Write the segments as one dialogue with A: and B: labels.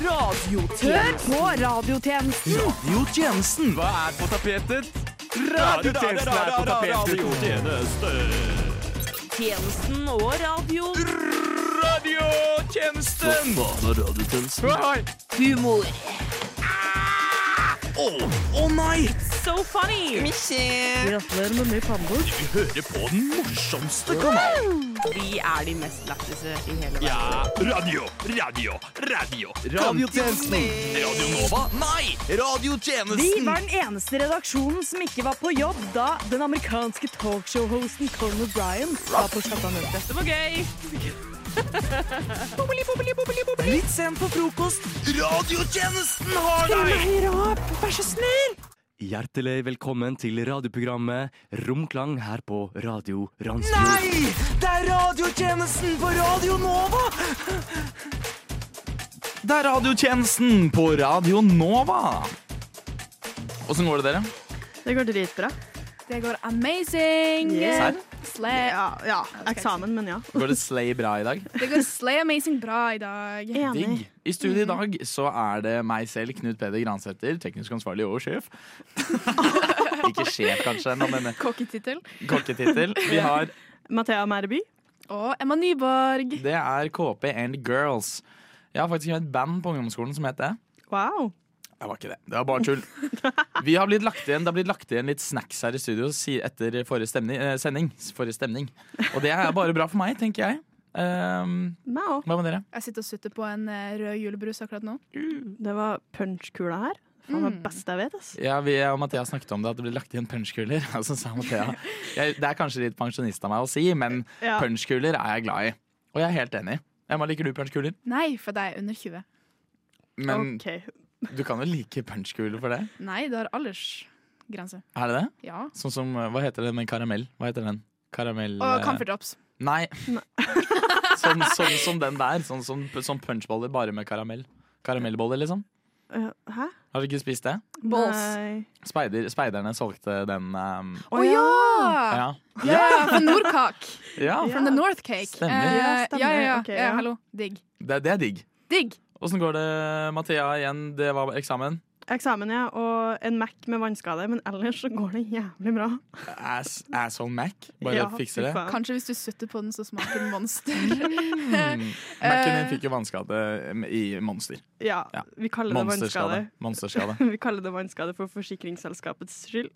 A: Hør på radiotjenesten.
B: Radiotjenesten. Hva er på tapetet? Radiotjenesten er på tapetet.
A: Tjenesten og radio.
B: Radiotjenesten!
C: Faen av radiotjenesten.
B: Hei!
A: Humor.
B: Å å nei!
A: So funny. Gratulerer med ny pannebok.
B: Vi hører på den morsomste kanalen.
A: Vi er de mest lættise i hele verden.
B: Ja, radio, radio, radio.
C: Radiotjenesten.
B: Radio Nova? Nei!
D: Vi
B: Radiotjenesten!
D: var den eneste redaksjonen som ikke var på jobb da den amerikanske talkshow-hosten Colin O'Brien var på skattamøte.
A: Det var gøy.
D: Litt sent på frokost.
B: Radiotjenesten har deg!
D: Vær så snill!
C: Hjertelig velkommen til radioprogrammet Romklang her på Radio Randsfjord.
B: Nei! Det er radiotjenesten på Radio Nova! Det er radiotjenesten på Radio Nova. Åssen går det, dere?
E: Det går dritbra.
F: Det går amazing!
D: Yeah.
F: Slay.
E: Ja, ja. Eksamen, men ja.
B: Går det slay bra i dag?
F: Det går slay amazing bra i dag.
E: Enig.
B: Digg. I studio i dag så er det meg selv, Knut Peder Gransæter, teknisk ansvarlig og sjef. Ikke sjef, kanskje, ennå, men
F: Kokketittel.
B: kokketittel. Vi har
E: Mathea Merby.
F: Og Emma Nyborg.
B: Det er KP and Girls. Jeg har faktisk et band på ungdomsskolen som het det.
E: Wow.
B: Jeg var ikke det. Det var bare tull. Vi har blitt lagt igjen, det har blitt lagt igjen litt snacks her i studio si- etter forrige stemning, eh, sending. Forrige stemning. Og det er bare bra for meg, tenker jeg. Ehm,
E: Meg òg.
B: hva med dere?
F: Jeg sitter og sutter på en eh, rød julebrus akkurat nå.
E: Det var punchkula her. Faen, det
F: Mm.
E: beste jeg vet. ass.
B: Ja, vi og Mathea snakket om det, at det blir lagt igjen punsjkuler. Og så sa Mathea jeg, Det er kanskje litt pensjonist av meg å si, men
E: Ja.
B: punsjkuler er jeg glad i. Og jeg er helt enig. Emma, liker du punsjkuler?
F: Nei, for det er under 20.
B: Men
E: OK. Eh,
B: du kan jo like punsjkuler for det?
F: Nei, det har aldersgrense.
B: Er det det?
F: Ja.
B: Sånn som eh, Hva heter den med karamell? Hva heter den? Karamell
F: Og
B: eh,
F: Comfort Drops.
B: Nei. sånn, sånn som den der. Sånn som sånn punchboller bare med karamell. Karamellboller, liksom.
E: Uh, Hæ?
B: Har dere ikke spist det?
F: Balls.
E: Nei.
B: Speider, speiderne solgte den ehm,
F: Å ja!
B: ja.
F: Ja, fra Nordkak.
B: ja.
F: From the North Cake.
B: Stemmer.
F: Eh,
E: Ja, stemmer.
F: Ja, ja, ja.
E: Ok,
F: ja.
E: ja.
F: Hallo. Digg.
B: Det, det er digg.
F: Digg.
B: Åssen går det, Mathea? Igjen, det var eksamen.
E: Eksamen, ja. Og en Mac med vannskade. Men ellers så går det jævlig bra.
B: Ass, asshole Mac. Bare
E: Ja,
B: fikser
E: fy
B: det.
E: faen.
F: Kanskje hvis du sutter på den, så smaker den monster.
B: Mm. Mac-en din fikk jo vannskade eh, i Monster.
E: Ja,
B: Ja.
E: vi kaller det
B: Monsterskade.
E: vannskade.
B: Monsterskade.
E: Vi kaller det vannskade for forsikringsselskapets skyld.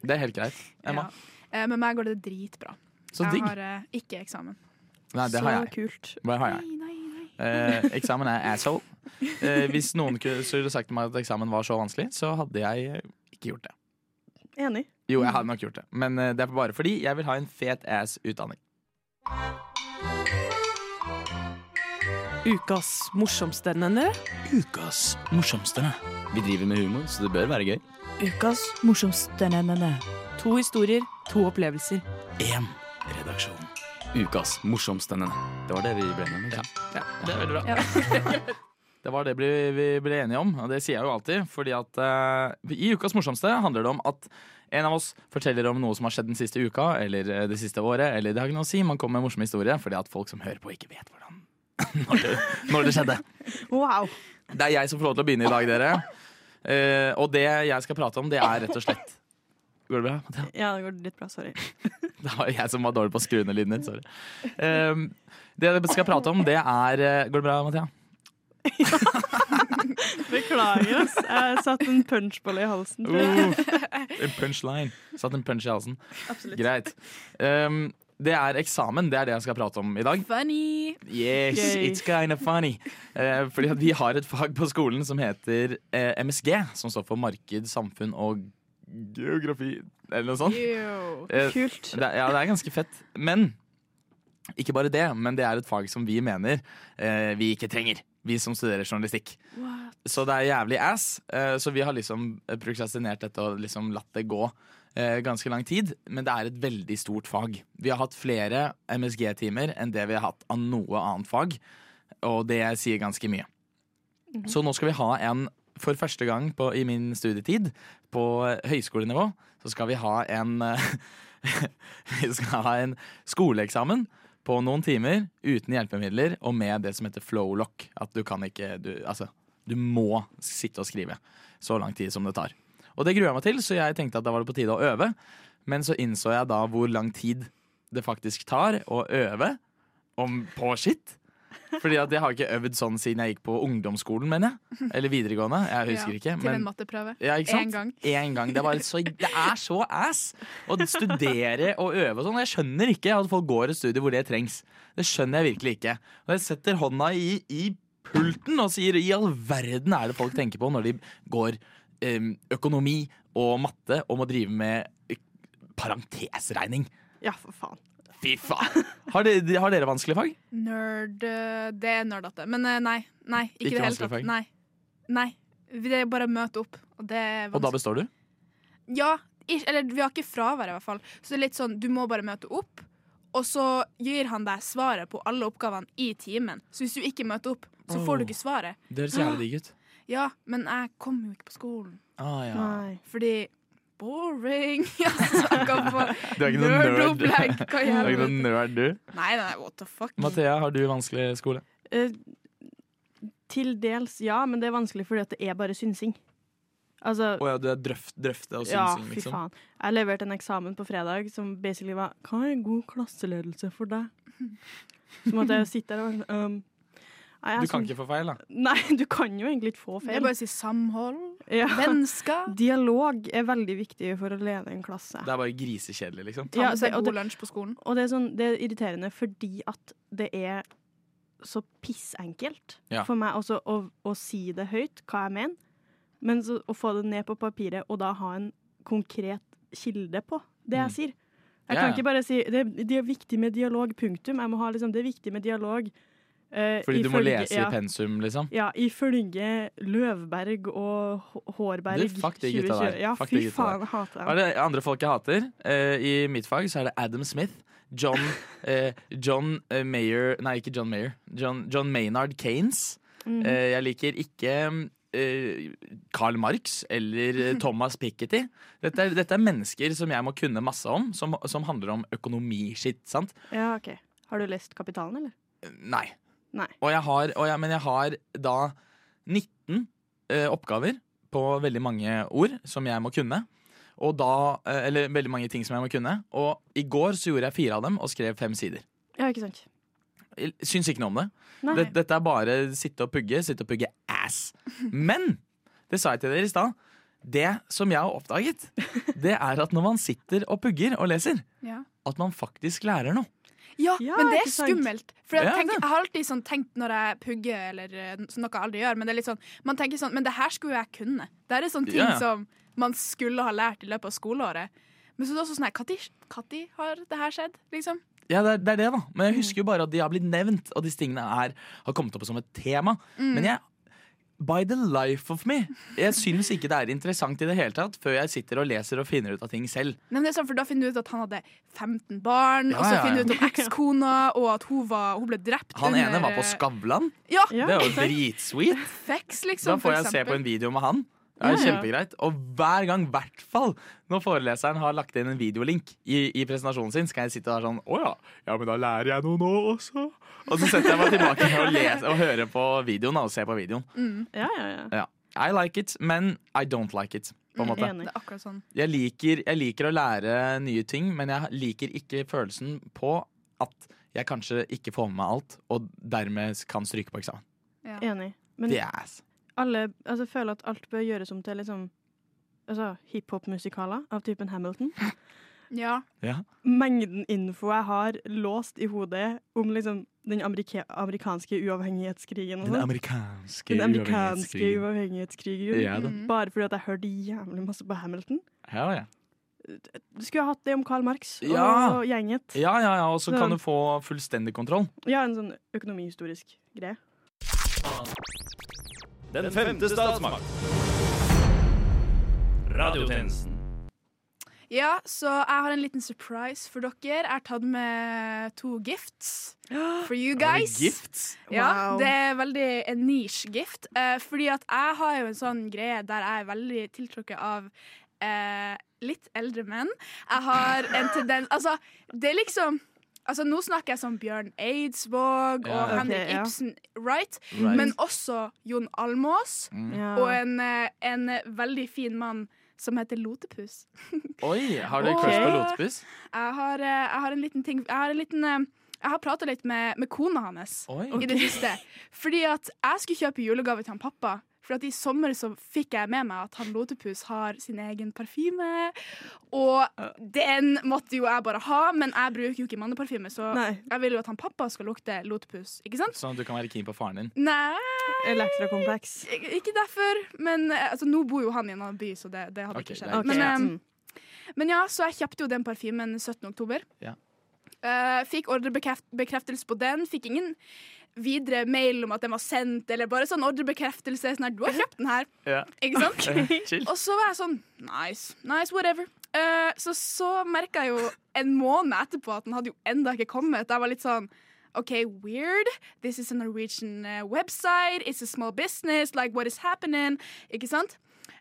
B: Det er helt greit. Emma.
F: Ja. Eh, Med meg går det dritbra.
B: Så
F: jeg
B: digg.
F: har eh, ikke eksamen.
B: Nei, det har jeg.
E: Så kult.
B: Bare har jeg.
F: Nei, nei, nei.
B: Eh, eksamen er asshole. Eh, hvis noen kunne så ville sagt til meg at eksamen var så vanskelig, så hadde jeg eh, ikke gjort det.
E: Enig.
B: Jo, jeg hadde nok gjort det, men eh, det er bare fordi jeg vil ha en fet ass utdanning.
G: Ukas morsomste, dere.
B: Ukas morsomste.
C: Vi driver med humor, så det bør være gøy.
G: Ukas morsomste, dere. To historier, to opplevelser.
B: Én redaksjon.
C: Ukas morsomste. nei, nei. Det var det vi ble med om. ikke sant?
B: Ja, det er veldig bra.
F: Ja.
B: Det var det vi, vi ble enige om, og det sier jeg jo alltid. Fordi at eh, I ukas morsomste handler det om at en av oss forteller om noe som har skjedd den siste uka eller eh, det siste året. Eller det har ikke noe å si, man kommer med en morsom historie fordi at folk som hører på, ikke vet hvordan når det, når det skjedde.
E: Wow.
B: Det er jeg som får lov til å begynne i dag, dere. Eh, og det jeg skal prate om, det er rett og slett Går det bra? Mathea?
E: Ja, det går litt bra. Sorry.
B: Det var jeg som var dårlig på å skru ned lyden din. Sorry. Ehm, det jeg skal prate om, det er eh, Går det bra, Mathea?
E: Beklager, ass. Jeg satt en punchbolle i halsen. tror jeg.
B: en punchline. Satt en punch i halsen. Greit. Ehm, det er eksamen. Det er det jeg skal prate om i dag.
F: Funny.
B: Yes,
E: Gøy.
B: it's kind of funny. Eh, fordi at vi har et fag på skolen som heter eh, MSG, som står for marked, samfunn og geografi, eller noe sånt.
F: Ew.
B: Eh,
E: Kult.
B: Det, er- ja, det er ganske fett. Men ikke bare det, men det er et fag som vi mener eh, vi ikke trenger. Vi som studerer journalistikk.
F: What?
B: Så det er jævlig ass. Eh, så vi har liksom prokrastinert dette og liksom latt det gå eh, ganske lang tid. Men det er et veldig stort fag. Vi har hatt flere MSG-timer enn det vi har hatt av noe annet fag, og det sier ganske mye. Så nå skal vi ha en for første gang på, i min studietid på høyskolenivå så skal vi ha en eh, Vi skal ha en skoleeksamen på noen timer uten hjelpemidler og med det som heter flowlock. At du kan ikke du, Altså, du må sitte og skrive så lang tid som det tar. Og det gruer jeg meg til, så jeg tenkte at da var det på tide å øve. Men så innså jeg da hvor lang tid det faktisk tar å øve om, på skitt. Fordi at jeg har ikke øvd sånn siden jeg gikk på ungdomsskolen, mener jeg. Eller videregående. Jeg husker ikke.
F: Til en
B: Men
F: matteprøve.
B: ja, ikke sant?
F: Én gang.
B: En gang. Det, var så, det er så ass å studere og øve og sånn. Jeg skjønner ikke at folk går et studie hvor det trengs. Det skjønner jeg virkelig ikke. Og jeg setter hånda i, i pulten og sier i all verden er det folk tenker på når de går em, økonomi og matte og må drive med ø- parentesregning.
E: Ja, for faen.
B: Fy faen! Har, de, har dere vanskelige fag?
F: Nerd eh, Det er nerdete. Men eh, nei. nei ikke,
B: Ikke
F: i det hele
B: vanskelig
F: tatt.
B: fag.
F: Nei. nei. Det er bare å møte opp. Og det er
B: Og da
F: vanskelig.
B: består du?
F: Ja. Ikke, eller vi har ikke fravær, i hvert fall. Så det er litt sånn, du må bare møte opp. Og så gir han deg svaret på alle oppgavene i timen. Så hvis du ikke møter opp, så får du
B: Oh.
F: ikke svaret.
B: Det høres jævlig digg ut.
F: Ja, men jeg kom jo ikke på skolen.
B: Ah, ja.
E: Nei.
F: Fordi boring! Altså, jeg kom på
B: Du er ikke noen nerd.
F: nerdopplegg. Hva
B: Du er ikke
F: jævlig.
B: noen nerd, du.
F: Nei, nei, what the fuck.
B: Mathea, har du vanskelig skole?
E: Eh, til dels ja, men det er vanskelig fordi at det er bare synsing. Altså
B: Å ja, du er drøft, drøfte og
E: Ja,
B: synsing,
E: fy
B: liksom.
E: faen. Jeg leverte en eksamen på fredag som basically var Hva er god klasseledelse for deg? Så måtte jeg sitte der og være sånn, «Øhm, nei, jeg sånn-
B: Du kan
E: syns-
B: ikke få feil, da.
E: Nei, du kan jo egentlig ikke få
F: Det er
E: feil.
F: bare å si samhold,
E: Ja.
F: vennskap.
E: Dialog er veldig viktig for å lede en klasse.
B: Det er bare grisekjedelig, liksom.
F: Ta
E: Ja,
F: med seg
E: det- og det-
F: god lunsj på skolen.
E: Og det er, sånn, det er irriterende fordi at det er så pissenkelt
B: Ja.
E: for meg også å, å si det høyt, hva jeg mener, men så, å få det ned på papiret og da ha en konkret kilde på det jeg
B: Mm.
E: sier.
B: Ja,
E: Jeg kan
B: ja.
E: ikke bare si det, det er viktig med dialog, punktum. Jeg må ha liksom, det er viktig med dialog. eh,
B: Fordi du må
E: ifølge-
B: lese i
E: ja,
B: pensum, liksom.
E: Ja, ifølge Løvberg og H- Hårberg
B: Du, fuck de gutta der.
E: 2020. Ja,
B: Fuck de
E: fy
B: gutta
E: faen,
B: der.
E: jeg hater
B: Hva
E: dem.
B: er det andre folk jeg hater? Eh, I mitt fag så er det Adam Smith, John, eh, John eh, Mayer Nei, ikke John Mayer. John, John Maynard Kanes.
E: Mhm.
B: Eh, jeg liker ikke eh, Karl Marx eller eh, Thomas Piketty. Dette er, dette er mennesker som jeg må kunne masse om, som, som handler om økonomiskitt. sant?
E: Ja, ok. Har du lest Kapitalen, eller?
B: Nei.
E: Nei.
B: Og jeg har, og jeg, men jeg har da 19 eh, oppgaver på veldig mange ord som jeg må kunne. Og da, eh, eller veldig mange ting som jeg må kunne. Og i går så gjorde jeg fire av dem og skrev fem sider.
E: Ja, ikke sant.
B: Jeg Syns ikke noe om det.
E: Nei.
B: det. Dette er bare sitte og pugge, sitte og pugge ass. Men det sa jeg til dere i stad. Det som jeg har oppdaget, det er at når man sitter og pugger og leser,
F: Ja.
B: at man faktisk lærer noe.
F: Ja,
E: Ja,
F: men det er
E: ikke sant?
F: skummelt. For jeg,
B: Ja,
F: tenker,
B: det.
F: jeg har alltid sånn tenkt når jeg pugger, eller eh, som noe jeg aldri gjør, men det er litt sånn, man tenker sånn Men det her skulle jo jeg kunne. Det her er sånne ting
B: Ja, ja.
F: som man skulle ha lært i løpet av skoleåret. Men så er det også sånn her Når har det her skjedd? Liksom.
B: Ja, det er, det er det, da. Men
E: Mm.
B: jeg husker jo bare at de har blitt nevnt, og disse tingene er, har kommet opp som et tema.
E: Mm.
B: Men jeg By the life of me. Jeg syns ikke det er interessant i det hele tatt før jeg sitter og leser og finner ut av ting selv.
F: Nei, men det er sånn, for Da finner du ut at han hadde 15 barn,
B: Ja,
F: og så
B: ja,
F: finner
B: ja.
F: du ut om ekskona, og at hun, var, hun ble drept
B: Han
F: under eh,
B: ene var på Skavlan.
F: Ja,
E: eh, Ja,
B: Det er jo
E: ikke sant?
B: dritsweet.
F: Fex, liksom.
B: Da får
F: for
B: jeg se på
F: eksempel.
B: en video med han. Det er
E: Ja, ja.
B: kjempegreit. Og hver gang, i hvert fall når foreleseren har lagt inn en videolink i, i presentasjonen sin, skal jeg sitte og være sånn Å ja, ja, men da lærer jeg noe nå også. Og så setter jeg meg tilbake og, leser, og hører på videoen da, og ser på videoen.
E: Ja, ja, ja.
B: I like it, men I don't like it. På en måte.
E: Enig.
F: Mm. Det er akkurat sånn.
B: Jeg, liker, jeg liker å lære nye ting, men jeg liker ikke følelsen på at jeg kanskje ikke får med meg alt, og dermed kan stryke på eksamen.
F: Ja.
E: Enig. Men
B: Det er ass.
E: alle altså, jeg føler at alt bør gjøres om til liksom, altså, hiphop-musikaler av typen Hamilton.
F: Ja.
E: Mengden info jeg har låst i hodet om liksom, den amerika amerikanske uavhengighetskrigen. Og
B: Den
E: sånn.
B: amerikanske
E: den amerikanske
B: uavhengighetskrigen.
E: uavhengighetskrigen.
B: Ja da.
F: Mhm.
E: Bare fordi at jeg hørte jævlig masse på Hamilton.
B: Ja, ja.
E: Du skulle ha hatt det om Karl Marx og
B: Ja.
E: gjenget.
B: ja, ja, ja. Og så kan
E: Sånn.
B: du få fullstendig kontroll.
E: Ja, en sånn økonomihistorisk greie.
H: Den femte statsmakt. Radiotjenesten.
F: Ja, så jeg har en liten surprise for dere. Jeg har tatt med to gifts for you guys.
B: Gifts.
F: Ja,
E: Wow.
F: Det er veldig en niche-gift. eh, fordi at jeg har jo en sånn greie der jeg er veldig tiltrukket av eh, litt eldre menn. Jeg har en tendens Altså, det er liksom Altså, nå snakker jeg som Bjørn Eidsvåg
B: Ja,
F: og
B: ja.
F: Henrik
E: Ok, ja.
F: Ibsen, right?
B: Right.
F: Men også Jon Almås
B: Mm.
E: Ja.
F: og en, eh, en veldig fin mann som heter Lotepus.
B: Oi, har du
F: Ok.
B: crush på Lotepus?
F: Jeg har, eh, jeg har en liten ting Jeg har, en liten, eh, jeg har prata litt med, med kona hans
B: Oi.
F: i det siste. Fordi at jeg skulle kjøpe julegave til han pappa. For at i sommer så fikk jeg med meg at han Lotepus har sin egen parfyme. Og den måtte jo jeg bare ha, men jeg bruker jo ikke manneparfyme, så
E: Nei.
F: jeg vil jo at han pappa skal lukte Lotepus, ikke sant?
B: Sånn at du kan være keen på faren din.
F: Nei,
E: Elektra Complex.
F: ik- ikke derfor. Men eh, altså, nå bor jo han i en annen by, så det, det hadde
B: Ok,
F: ikke
B: det
F: skjedd.
B: er
E: Ok,
F: Men,
E: ja.
F: eh,
E: Mm.
F: men ja, så jeg kjøpte jo den parfymen 17. oktober.
B: Ja.
F: Eh, fikk ordrebekreftelse på den. Fikk ingen videre mail om at den var sendt, eller bare sånn ordrebekreftelse. Sånn her, du har kjøpt den her,
B: Ja.
F: ikke sant?
B: Chill.
F: Og så var jeg sånn Nice, nice, whatever. Eh, så så merka jeg jo en måned etterpå at den hadde jo enda ikke kommet. Jeg var litt sånn OK, weird. This is a Norwegian eh, website. It's a small business. Like, what is happening? Ikke sant?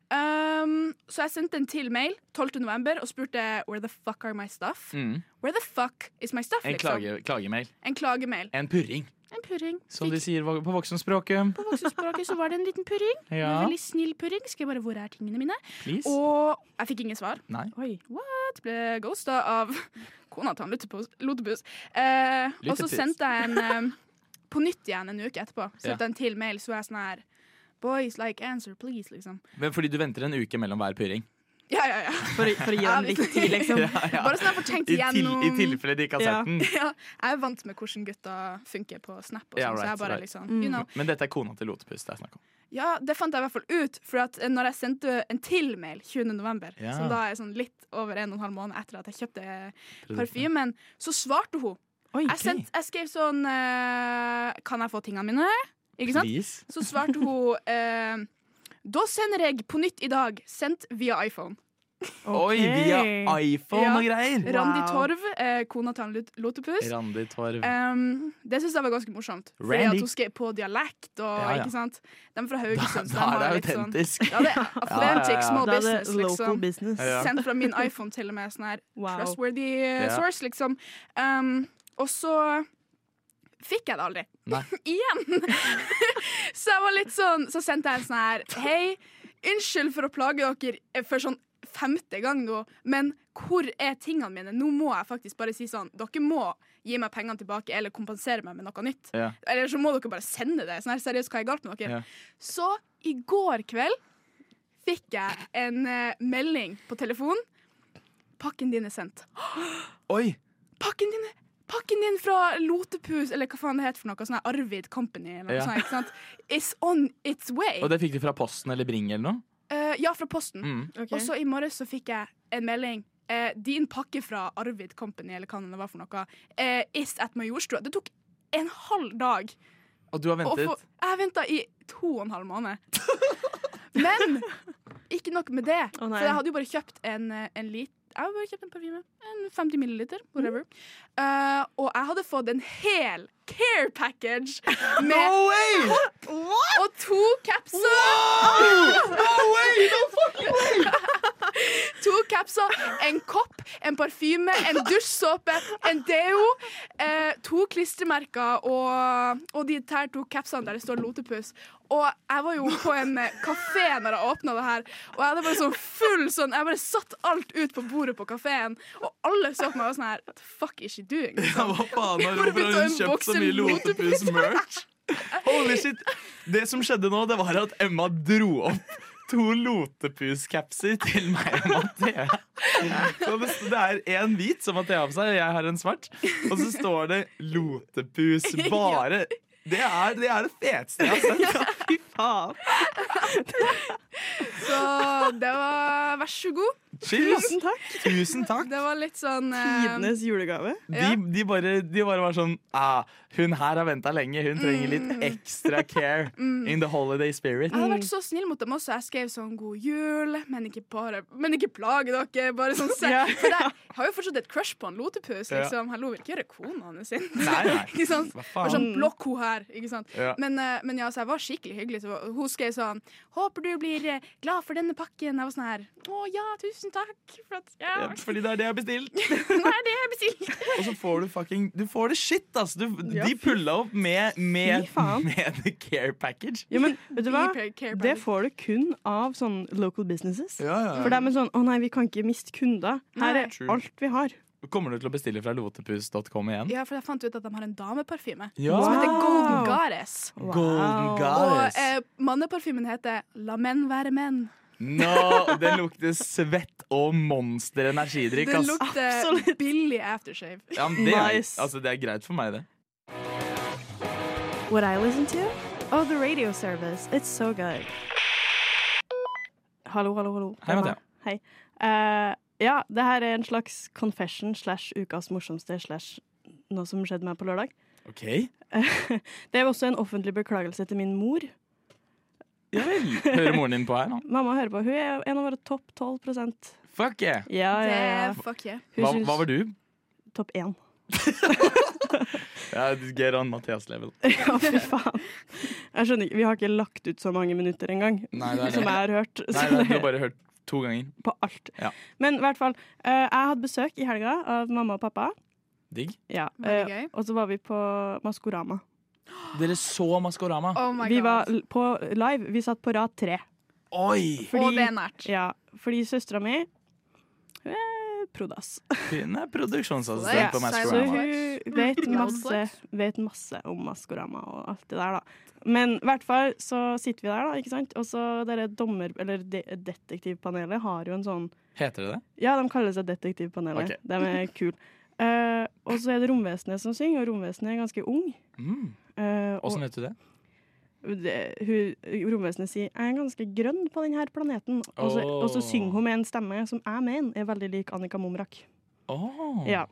F: Um, så jeg sendte en til mail 12. november og spurte Where the fuck are my stuff?
B: Mm.
F: Where the fuck is my stuff?
B: En
F: liksom?
B: klage, klagemail.
F: en klagemail.
B: En purring,
F: En purring.
B: som de
F: Fikk
B: sier på voksenspråket.
F: på voksenspråket, så var det en liten purring. En
B: Ja,
F: veldig snill purring. Skrev bare 'Hvor er tingene mine?'
B: please.
F: Og jeg fikk ingen svar.
B: Nei.
F: What? Ble ghosta av kona til han Lotepus- Lotepus. Eh, og så
B: Lotepus.
F: sendte jeg en eh, på nytt igjen en uke etterpå. Sendte en til mail, så var jeg sånn her Boys like answer, please, liksom.
B: Men fordi du venter en uke mellom hver purring.
F: Ja, ja, ja.
E: For, for å gi den litt tid, liksom.
F: Bare sånn jeg får tenkt
B: I, til,
F: igjennom.
B: I tilfelle de ikke har
E: Ja.
B: sett den.
F: ja, jeg er vant med hvordan gutta funker på Snap, og sånn,
B: Ja,
F: så
B: right,
F: jeg bare
B: right.
F: liksom You know.
B: Men dette er kona til Lotepus det er snakk om.
F: Ja, det fant jeg i hvert fall ut, for at eh, når jeg sendte en til mail 20. november,
B: Ja.
F: som da er sånn litt over en og en halv måned etter at jeg kjøpte eh, parfymen, så svarte hun.
B: Oi,
F: Jeg, sendt, jeg skrev sånn eh, Kan jeg få tingene mine? Ikke sant?
B: Please.
F: Så svarte hun eh, Da sender jeg på nytt i dag. Sendt via iPhone.
B: Oi, via iPhone
F: Ja.
B: og greier!
F: Randi Torv, eh, kona til han Lut- Lotepus.
B: Randi Torv.
F: Eh, Em, det syns jeg var ganske morsomt. Fordi
B: Randy.
F: at hun skrev på dialekt. Og,
B: Ja, ja.
F: Ikke sant? De er fra
B: Da,
F: Haugesund. så
B: da
F: de
B: er det
F: har litt sånn-
B: autentisk.
F: Ja, det er
B: Ja, ja,
F: authentic
B: ja.
F: small
E: Da er det
F: business,
E: local
F: liksom.
E: business.
B: Ja.
F: Sendt fra min iPhone til og med sånn her
E: Wow.
F: trustworthy eh,
B: Ja.
F: source, liksom. Um, og så fikk jeg det aldri.
B: Nei.
F: Igjen! så jeg var litt sånn Så sendte jeg en sånn her Hei, unnskyld for å plage dere eh, for sånn femte gang nå, men hvor er tingene mine? Nå må jeg faktisk bare si sånn Dere må gi meg pengene tilbake eller kompensere meg med noe nytt.
B: Ja.
F: Eller så må dere bare sende det. Sånn her, seriøst, hva er galt med dere?
B: Ja.
F: Så i går kveld fikk jeg en eh, melding på telefon. Pakken din er sendt.
B: Oi!
F: Pakken din Pakken din fra Lotepus, eller hva faen det heter for noe, sånn her Arvid Company, eller noe
B: Ja.
F: sånt, ikke sant? It's on its way.
B: Og det fikk du fra Posten eller Bring eller noe?
F: Eh, ja, fra posten.
B: Mm.
F: Og så i morges så fikk jeg en melding. Eh, din pakke fra Arvid Company, eller hva det var for noe, eh, is at Majorstua. Det tok en halv dag.
B: Og du har
F: å
B: ventet?
F: få- jeg venta i to og en halv måned. Men ikke nok med det.
E: Å, nei.
F: for jeg hadde jo bare kjøpt en, eh, en lit jeg hadde bare kjøpt en parfyme. En 50 milliliter, whatever.
E: Mm.
F: Eh, og jeg hadde fått en hel care package med og to capser. To capser, en kopp, en parfyme, en dusjsåpe, en deo, eh, to klistremerker og, og de her to capsene der det står Lotepus. Og jeg var jo på en eh, kafé når jeg åpna det her, og jeg hadde bare sånn full sånn Jeg bare satt alt ut på bordet på kafeen, og alle så på meg og var sånn her "What the Fuck is she doing?
B: Ja, hva faen har
F: Bare bytte
B: Robert hun
F: en
B: kjøpt så
F: boksen
B: mye
F: Lotepus.
B: Lotepus-merch? Holy shit! Det som skjedde nå, det var at Emma dro opp to Lotepus-capser til meg og Mathea. Så det, det er én hvit som Mathea har på seg, og jeg har en svart. Og så står det Lotepus bare. Det er det, er det feteste jeg har sett.
F: Så det var Vær så god.
B: Cheers!
E: Tusen takk.
B: Tusen takk.
F: Det var litt sånn eh,
E: Tidenes julegave.
B: De, de, bare, de bare var sånn ah, Hun her har venta lenge. Hun trenger litt ekstra care in the holiday spirit.
F: mm. Jeg hadde vært så snill mot dem også. Jeg skrev sånn 'god jul', men ikke, bare, men ikke plage dere. Bare sånn se. For jeg har jo fortsatt et crush på han Lotepus.
B: Ja.
F: Liksom. Hallo, vil ikke gjøre kona hans sin.
B: Nei, nei.
F: Ikke sant?
B: Hva
F: Bare
B: faen?
F: sånn blokk hun her. Ikke sant?
B: Ja.
F: Men, eh, men ja, så jeg var skikkelig hyggelig. Så hun skrev sånn Håper du blir eh, glad for denne pakken. Jeg var sånn her Å ja, tusen takk. For at, ja,
B: Ja, Fordi det er det jeg har bestilt.
F: det er det jeg bestilte.
B: Og så får du fucking Du får det shit, ass! Du,
E: Ja,
B: de pulla opp med, med,
E: Fy faen.
B: med the care package.
E: Jo, men vet du hva?
F: Be care
E: Det
F: package.
E: får du kun av sånn local businesses.
B: Ja, ja.
E: For det er med sånn 'Å nei, vi kan ikke miste kunder'. Her
F: Nei.
E: er
B: True.
E: alt vi har.
B: Kommer du til å bestille fra lotepus.com igjen?
F: Ja, for jeg fant ut at de har en dameparfyme
B: Ja.
F: som heter
E: Wow.
F: Golden Goddess.
B: Golden
F: Og
B: goddess.
F: eh, manneparfymen heter La menn være menn.
B: No, den lukter svett og monster-energidrikk,
F: Den
B: ass.
F: lukter
E: Absolutt.
F: billig aftershave.
B: Ja, men det, er,
E: Nice.
B: altså, det er greit for meg, det.
E: What I listen to? Oh, the radio service. It's so good. Hallo, hallo, hallo.
B: Hei, Mathea.
E: Hei. Eh, ja, det her er en slags confession slash ukas morsomste slash noe som skjedde meg på lørdag.
B: OK.
E: Det er også en offentlig beklagelse til min mor.
B: Ja vel. Hører moren din på her nå?
E: Mamma hører på. Hun er en av våre topp 12
B: Fuck yeah!
E: Ja, ja, ja.
F: Det, fuck yeah.
E: Hun
B: Hva,
E: syns-
B: hva var du?
E: Topp 1.
B: Ja, get on Mathias level.
E: Ja, fy faen. Jeg skjønner ikke, Vi har ikke lagt ut så mange minutter engang,
B: Nei, det er det.
E: som jeg har hørt.
B: Nei,
E: så
B: nei,
E: det-
B: du har bare hørt to ganger.
E: på alt.
B: Ja.
E: Men i hvert fall, eh, jeg hadde besøk i helga av mamma og pappa.
B: Digg.
E: Ja,
F: Veldig
E: eh,
F: gøy.
E: og så var vi på Maskorama.
B: Dere så Maskorama?
F: Oh my
E: Vi
F: God.
E: var l- på live. Vi satt på rad tre.
B: Oi!
F: Og det er nært.
E: ja, fordi søstera mi hun er Prodas.
B: Hun er
F: Ja,
B: produksjonsassistent på
E: Så
F: Prodas.
B: Maskorama.
E: hun vet masse, vet masse om Maskorama og alt det der, da. Men i hvert fall så sitter vi der, da, ikke sant. Og så dere dommer... Eller de detektivpanelet har jo en sånn
B: Heter det det?
E: Ja, de kaller seg Detektivpanelet.
B: Ok.
E: De er kule. Eh, og så er det romvesenet som synger, og romvesenet er ganske ung.
B: Mm.
E: Eh,
B: Åssen vet du det?
E: og det, hun, romvesenet sier 'jeg er ganske grønn på denne planeten', og så,
B: Åh.
E: og så synger hun med en stemme som jeg mener er veldig lik Annika Momrak.
B: Åh.
E: Ja.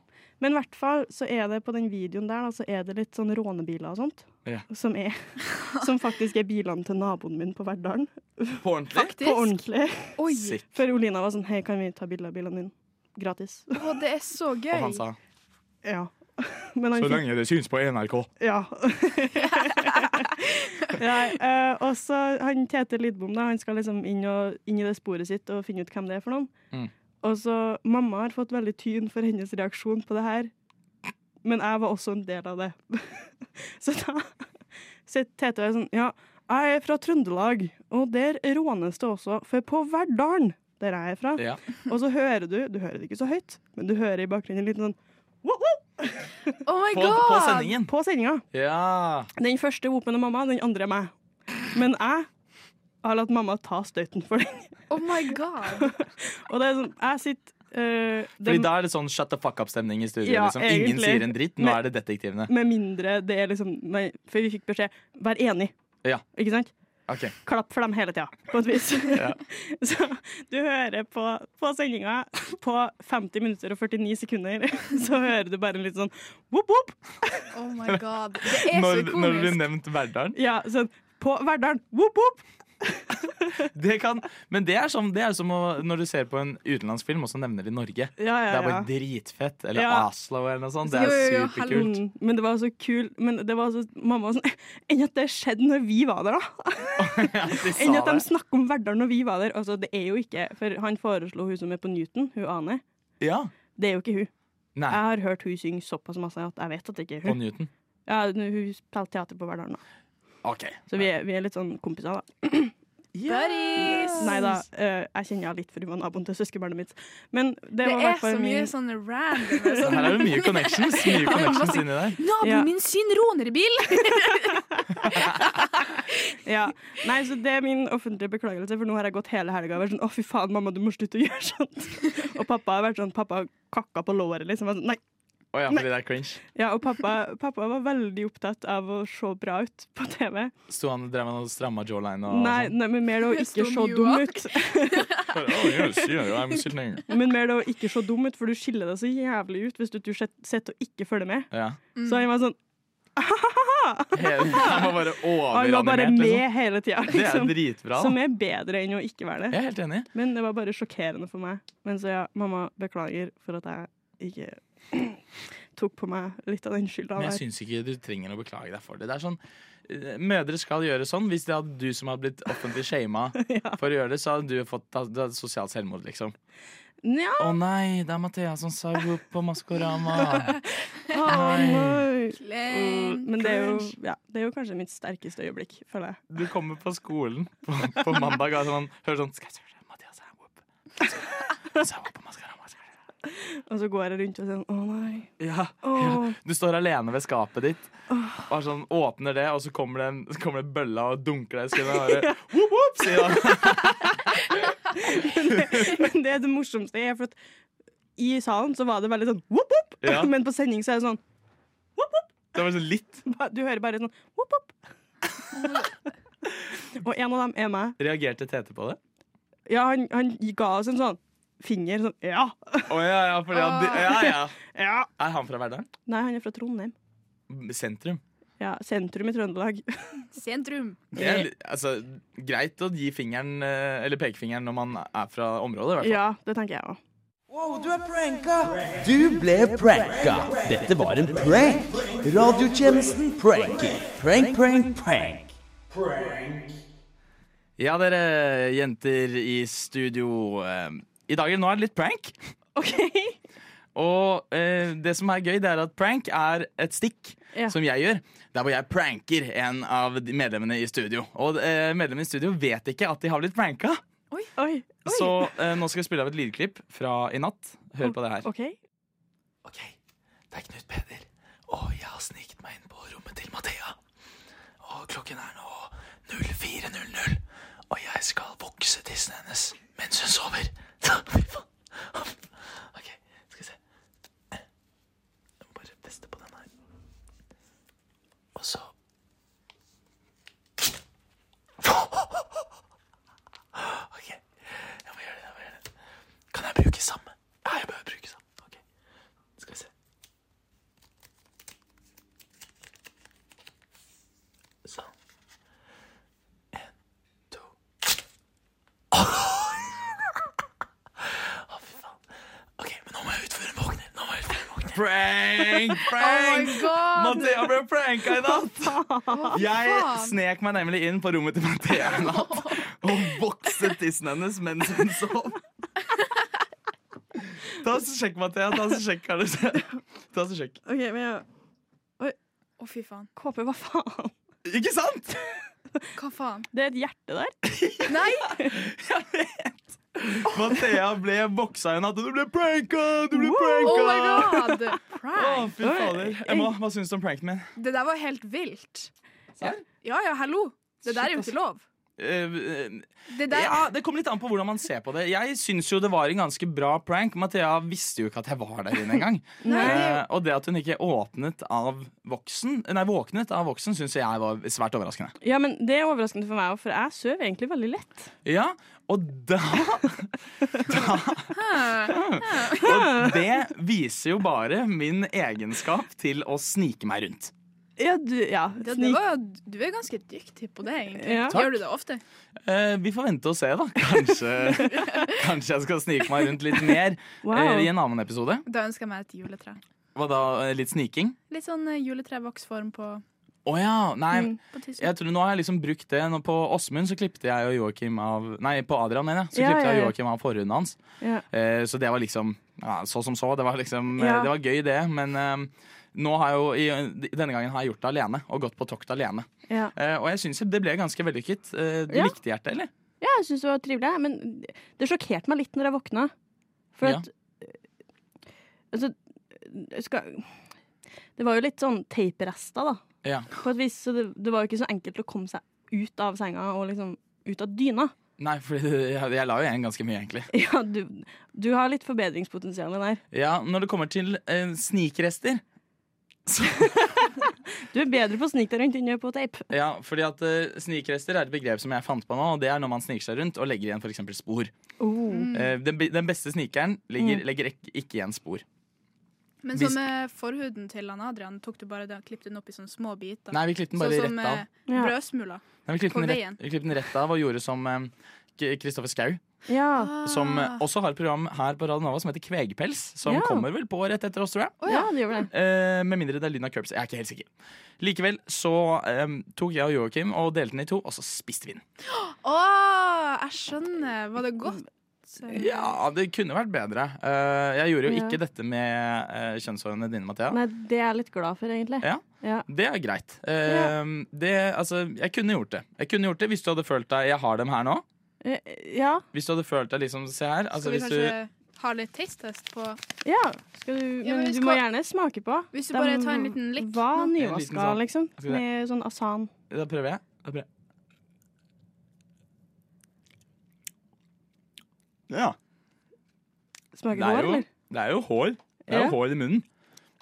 E: Men i hvert fall så er det på den videoen der da, så er det litt sånn rånebiler og sånt.
B: Ja.
E: Som, er, som faktisk er bilene til naboen min på Verdalen.
B: På ordentlig?
E: På ordentlig.
F: Oi,
B: Sick.
E: Før Olina var sånn 'hei, kan vi ta bilde av bilene dine?' Gratis.
F: å, det er så gøy.
B: Og han sa
E: Ja. Men han fikk-
B: det syns på NRK.
E: Ja. Nei, eh, og så han Tete Lidbom da, han skal liksom inn, og, inn i det sporet sitt og finne ut hvem det er for noen.
B: Mm.
E: Og så Mamma har fått veldig tyn for hennes reaksjon på det her, men jeg var også en del av det. så da sitter Tete og er sånn Ja, jeg er fra Trøndelag, og der rånes det også, for på Verdalen, der jeg er fra,
B: Ja.
E: og så hører du Du hører det ikke så høyt, men du hører i bakgrunnen en liten sånn «Woo, woo!»
F: Oh my
B: På,
F: god!
B: på sendingen.
E: på sendinga.
B: Ja.
E: Den første vopen er mamma, den andre er meg. Men jeg har latt mamma ta støyten for den.
F: Oh my god.
E: Og det er sånn, jeg sitter eh,
B: Fordi
E: det,
B: da er det sånn shut the fuck up-stemning i studio.
E: Ja,
B: liksom. Ingen
E: egentlig.
B: sier en dritt. Nå
E: Men-
B: er det detektivene.
E: Med mindre det er liksom nei, For vi fikk beskjed vær enig.
B: Ja.
E: Ikke sant?
B: Ok.
E: Klapp for dem hele tida, på et vis.
B: Ja.
E: Så du hører på, på sendinga på 50 minutter og 49 sekunder, så hører du bare en litt sånn whoop, whoop.
F: Oh my god. Det er
B: Når,
F: så
B: når det blir
F: komisk.
B: nevnt Verdalen.
E: Ja, sånn på Verdalen. Whoop, whoop.
B: Det kan, men det er, som, det er som å, når du ser på en utenlandsk film, og så nevner de Norge.
E: Ja,
B: Det
E: ja,
B: er bare
E: ja.
B: dritfett. Eller
E: Ja.
B: Oslo eller noe sånt. Det
F: Jo, jo,
B: er
F: jo,
B: superkult.
E: Mm, men det var så kul Men det var så, mamma var sånn Enn at det skjedde når vi var der, da!
B: At de
E: Enn
B: sa
E: at de
B: det.
E: snakker om Verdal når vi var der. Altså, det er jo ikke For han foreslo hun som er på Newton, hun Ane.
B: Ja.
E: Det er jo ikke hun.
B: Nei.
E: Jeg har hørt hun synge såpass masse at jeg vet at det ikke er
B: På
E: hun.
B: Newton.
E: Ja, hun hun spiller teater på Verdal nå.
B: OK.
E: Så vi er, vi er litt sånn kompiser, da.
F: Buddies.
E: Nei da, eh, jeg kjenner henne litt, for hun var naboen til søskenbarnet mitt. Men det,
F: Det
E: var i
F: er
E: hvert
F: så
E: fall
F: mye
E: min
F: sånne random
B: Så her er det mye connections, mye connections inni der.
F: Naboen
E: Ja.
F: min sin rånerbil!
E: ja. Nei, så det er min offentlige beklagelse, for nå har jeg gått hele helga og vært sånn Å, fy faen, mamma, du må slutte å gjøre sånt. og pappa har vært sånn Pappa har kakka på låret, liksom. Jeg var Sånn, Nei.
B: Å ja, fordi det er cringe.
E: Ja, og pappa, pappa var veldig opptatt av å se bra ut på TV.
B: Sto han drev han og stramma jawline og
E: Nei, nei, men mer det å
F: Jeg
E: ikke
F: Ah. står
E: se
F: mye
E: dum
F: av.
E: ut.
B: sånn? Oh, yes, yeah, I'm sitting.
E: Men mer det å ikke se dum ut, for du skiller deg så jævlig ut hvis du, du sett- sitter og ikke følger med.
B: Ja.
F: Mm.
E: Så han var sånn
B: Hele, han var bare
E: Han var bare
B: overanimert,
E: med
B: liksom.
E: hele tida,
B: Det er
E: liksom.
B: dritbra.
E: Som
B: Da.
E: er bedre enn å ikke være det.
B: Jeg er helt enig.
E: Men det var bare sjokkerende for meg. Men så ja, mamma, beklager for at jeg ikke tok på meg litt av den skylda.
B: Men jeg
E: der.
B: syns ikke du trenger å beklage deg for det. Det er sånn, eh, Mødre skal gjøre sånn. Hvis det hadde du som hadde blitt offentlig shama for å gjøre det, så hadde du fått ta- du hadde sosialt selvmord, liksom.
E: Nja,
B: Å nei, det er Mathea som sa whoop på Maskorama.
E: å
B: nei.
E: nei.
F: Klein.
E: Mm, Men det er, jo, ja, det er jo kanskje mitt sterkeste øyeblikk, føler jeg.
B: Du kommer på skolen på, på mandag og sånn, hører sånn Skal jeg spørre deg, Mathea sa whoop? Sa whoop på Maskorama.
E: Og så går jeg rundt og sier sånn, å nei.
B: Ja, ja.
E: Åh.
B: Du står alene ved skapet ditt, og er sånn, åpner det, og så kommer det en, så kommer det en bølle og dunker deg i skinnet. Og bare, whoop, whoop, sier han.
E: Men det er det morsomste er, for at i salen så var det veldig sånn whoop, whoop.
B: Ja.
E: Men på sending så er det sånn
B: Det var sånn litt
E: ba- Du hører bare sånn whoop, whoop. og en av dem er meg.
B: Reagerte Tete på det?
E: Ja, han, han ga oss en sånn finger. Sånn ja,
B: Å ja, ja, fordi han, ja, ja.
E: ja.
B: Er han fra Verdalen?
E: Nei, han er fra Trondheim.
B: Sentrum.
E: Ja, Sentrum i Trøndelag.
F: Sentrum.
B: Det er, litt- altså, greit å gi fingeren, eh, eller pekefingeren når man er fra området, i hvert fall.
E: Ja, det tenker jeg òg.
I: Du ble pranka. Dette var en prank. Radiotjenesten pranker. Prank, prank, prank.
B: Ja, dere jenter i studio. eh, I dag nå er det litt prank.
E: OK.
B: Og eh, det som er gøy, det er at prank er et stikk
E: Ja.
B: som jeg gjør. Der hvor jeg pranker en av de medlemmene i studio. Og eh, medlemmene i studio vet ikke at de har blitt pranka.
E: Oi.
B: Så eh, nå skal jeg spille av et lydklipp fra i natt. Hør på det her.
E: OK.
I: Ok, det er Knut Peder. Og jeg har sniket meg inn på rommet til Mathea. Og klokken er nå 04.00. Og jeg skal vokse tissen hennes mens hun sover. Fy faen. Ok, skal vi se. Jeg må bare feste på den her. Og så Ok, jeg må gjøre det. Jeg må gjøre det. Kan jeg bruke samme? Ja, jeg bør bruke samme. Ok. Skal vi se. Sånn. En, to Å, fy faen. Ok, men nå må jeg ut før hun våkner. Nå må jeg ut før hun våkner.
B: Prank! Prank!
F: Oh God!
B: Mathea ble pranka i natt! Jeg snek meg nemlig inn på rommet til Mathea i natt og vokset tissen hennes mens hun sov. Ta oss og Sjekk, Mathea. Ta oss og sjekk, Karl. Ta oss og sjekk.
E: ok, men jeg
F: Å, fy faen.
E: KP, hva faen?
B: Ikke sant?
F: Hva faen?
E: Det er et hjerte der.
F: Nei!
B: Mathea ble boksa i natt, og du ble pranka! Du ble
F: Oh my
B: pranka!
F: god! Oh.
B: Å,
F: Prank.
B: fy fader. Emma, hva syns du om pranken min?
F: Det der var helt vilt. Ja,
B: Serr?
F: ja, ja, hallo. Det der er jo ikke lov.
B: Eh,
F: Det der
B: ja, det kommer litt an på hvordan man ser på det. Jeg syns jo det var en ganske bra prank. Mathea visste jo ikke at jeg var der inne engang. Eh, og det at hun ikke åpnet av voksen, nei, våknet av voksen, syns jeg var svært overraskende.
E: Ja, men Det er overraskende for meg òg, for jeg sover egentlig veldig lett.
B: Ja, og da, da Og det viser jo bare min egenskap til å snike meg rundt.
E: Ja, du, ja.
F: det, det
E: snik-
F: var, du er ganske dyktig på det, egentlig.
E: Ja.
F: Gjør du det ofte?
B: Eh, vi får vente og se, da. Kanskje, kanskje jeg skal snike meg rundt litt mer eh, i en annen episode.
F: Da ønsker jeg meg et juletre.
B: Hva da? eh, Litt sniking?
F: Litt sånn eh, juletrevoksform på,
B: Å ja. Nei.
E: Mm.
F: på tissen.
B: Jeg tror Nå har jeg liksom brukt det. Nå på Åsmund så klippte jeg og Joakim av Nei, på Adrian, mener jeg. Så
E: Ja,
B: klippte
E: ja,
B: jeg
E: ja.
B: Joakim av forhuden hans.
E: Ja.
B: Eh, så det var liksom ja, så som så. Det var liksom eh,
E: Ja.
B: Det var gøy, det. Men eh, nå har jeg jo, i, eh, denne gangen har jeg gjort det alene, og gått på tokt alene.
E: Ja.
B: Eh, og jeg syns det ble ganske vellykket. Eh, du
E: Ja.
B: likte hjertet, eller?
E: Ja, jeg syns det var trivelig, jeg, men det sjokkerte meg litt når jeg våkna. For
B: Ja.
E: at Altså, jeg skal, det var jo litt sånn teiprester, da,
B: Ja.
E: på et vis. Så det, det var jo ikke så enkelt å komme seg ut av senga og liksom ut av dyna.
B: Nei, for jeg, jeg la jo igjen ganske mye, egentlig.
E: Ja, du, du har litt forbedringspotensial der.
B: Ja, Når det kommer til eh, snikrester
E: Du er bedre på å snike deg rundt enn du er på teip.
B: Ja, fordi at eh, Snikrester er et begrep som jeg fant på nå. Og Det er når man sniker seg rundt og legger igjen for eksempel spor.
F: Oh. Mm.
B: Eh, den, be- den beste snikeren legger, legger ek- ikke igjen spor.
F: Men
B: Hvis-
F: som med forhuden til han Adrian, tok du bare den, klippet den opp i sånne små biter?
B: Nei, vi klippte den bare
F: sånn som
B: rett av.
F: eh, brødsmuler.
B: Nei, vi klippte
F: på
B: den rett,
F: veien.
B: vi klippte den rett av og gjorde som eh, Kristoffer Skau,
E: Ja.
B: som eh,
F: Ah.
B: også har et program her på Radio Nova som heter Kvegpels, som
E: Ja.
B: kommer vel på rett etter oss, tror jeg.
E: ja, det gjør det.
B: Eh, med mindre det er lyden av curbs. Jeg er ikke helt sikker. Likevel så eh, tok jeg og Joakim og delte den i to, og så spiste vi den.
F: Å, jeg skjønner. Var det godt?
B: Ja, det kunne vært bedre. Eh, jeg gjorde jo
E: Ja.
B: ikke dette med eh, kjønnshårene dine, Mathea.
E: Nei, det er jeg litt glad for, egentlig.
B: Ja. Det er greit. Eh, det, altså, jeg kunne gjort det. Jeg kunne gjort det hvis du hadde følt deg Jeg har dem her nå.
E: Eh, Ja.
B: Hvis du hadde følt deg liksom Se her. Altså,
F: Skal vi
B: hvis du,
F: kanskje ha litt taste-test på
E: ja. Skal du,
F: Ja,
E: men
F: men vi
E: du må
F: skal-
E: gjerne smake på.
F: Hvis du
E: De
F: bare tar en liten likk
E: Var
F: nå.
B: En liten
E: nyvaska,
B: sånn-
E: liksom.
B: Skal vi det?
E: Med sånn asan.
B: Da prøver jeg. Da prøver jeg. Ja.
E: Smaker
B: Det er,
E: hår,
B: jo,
E: eller?
B: det er jo hår. Det er jo
E: Ja.
B: hår i munnen.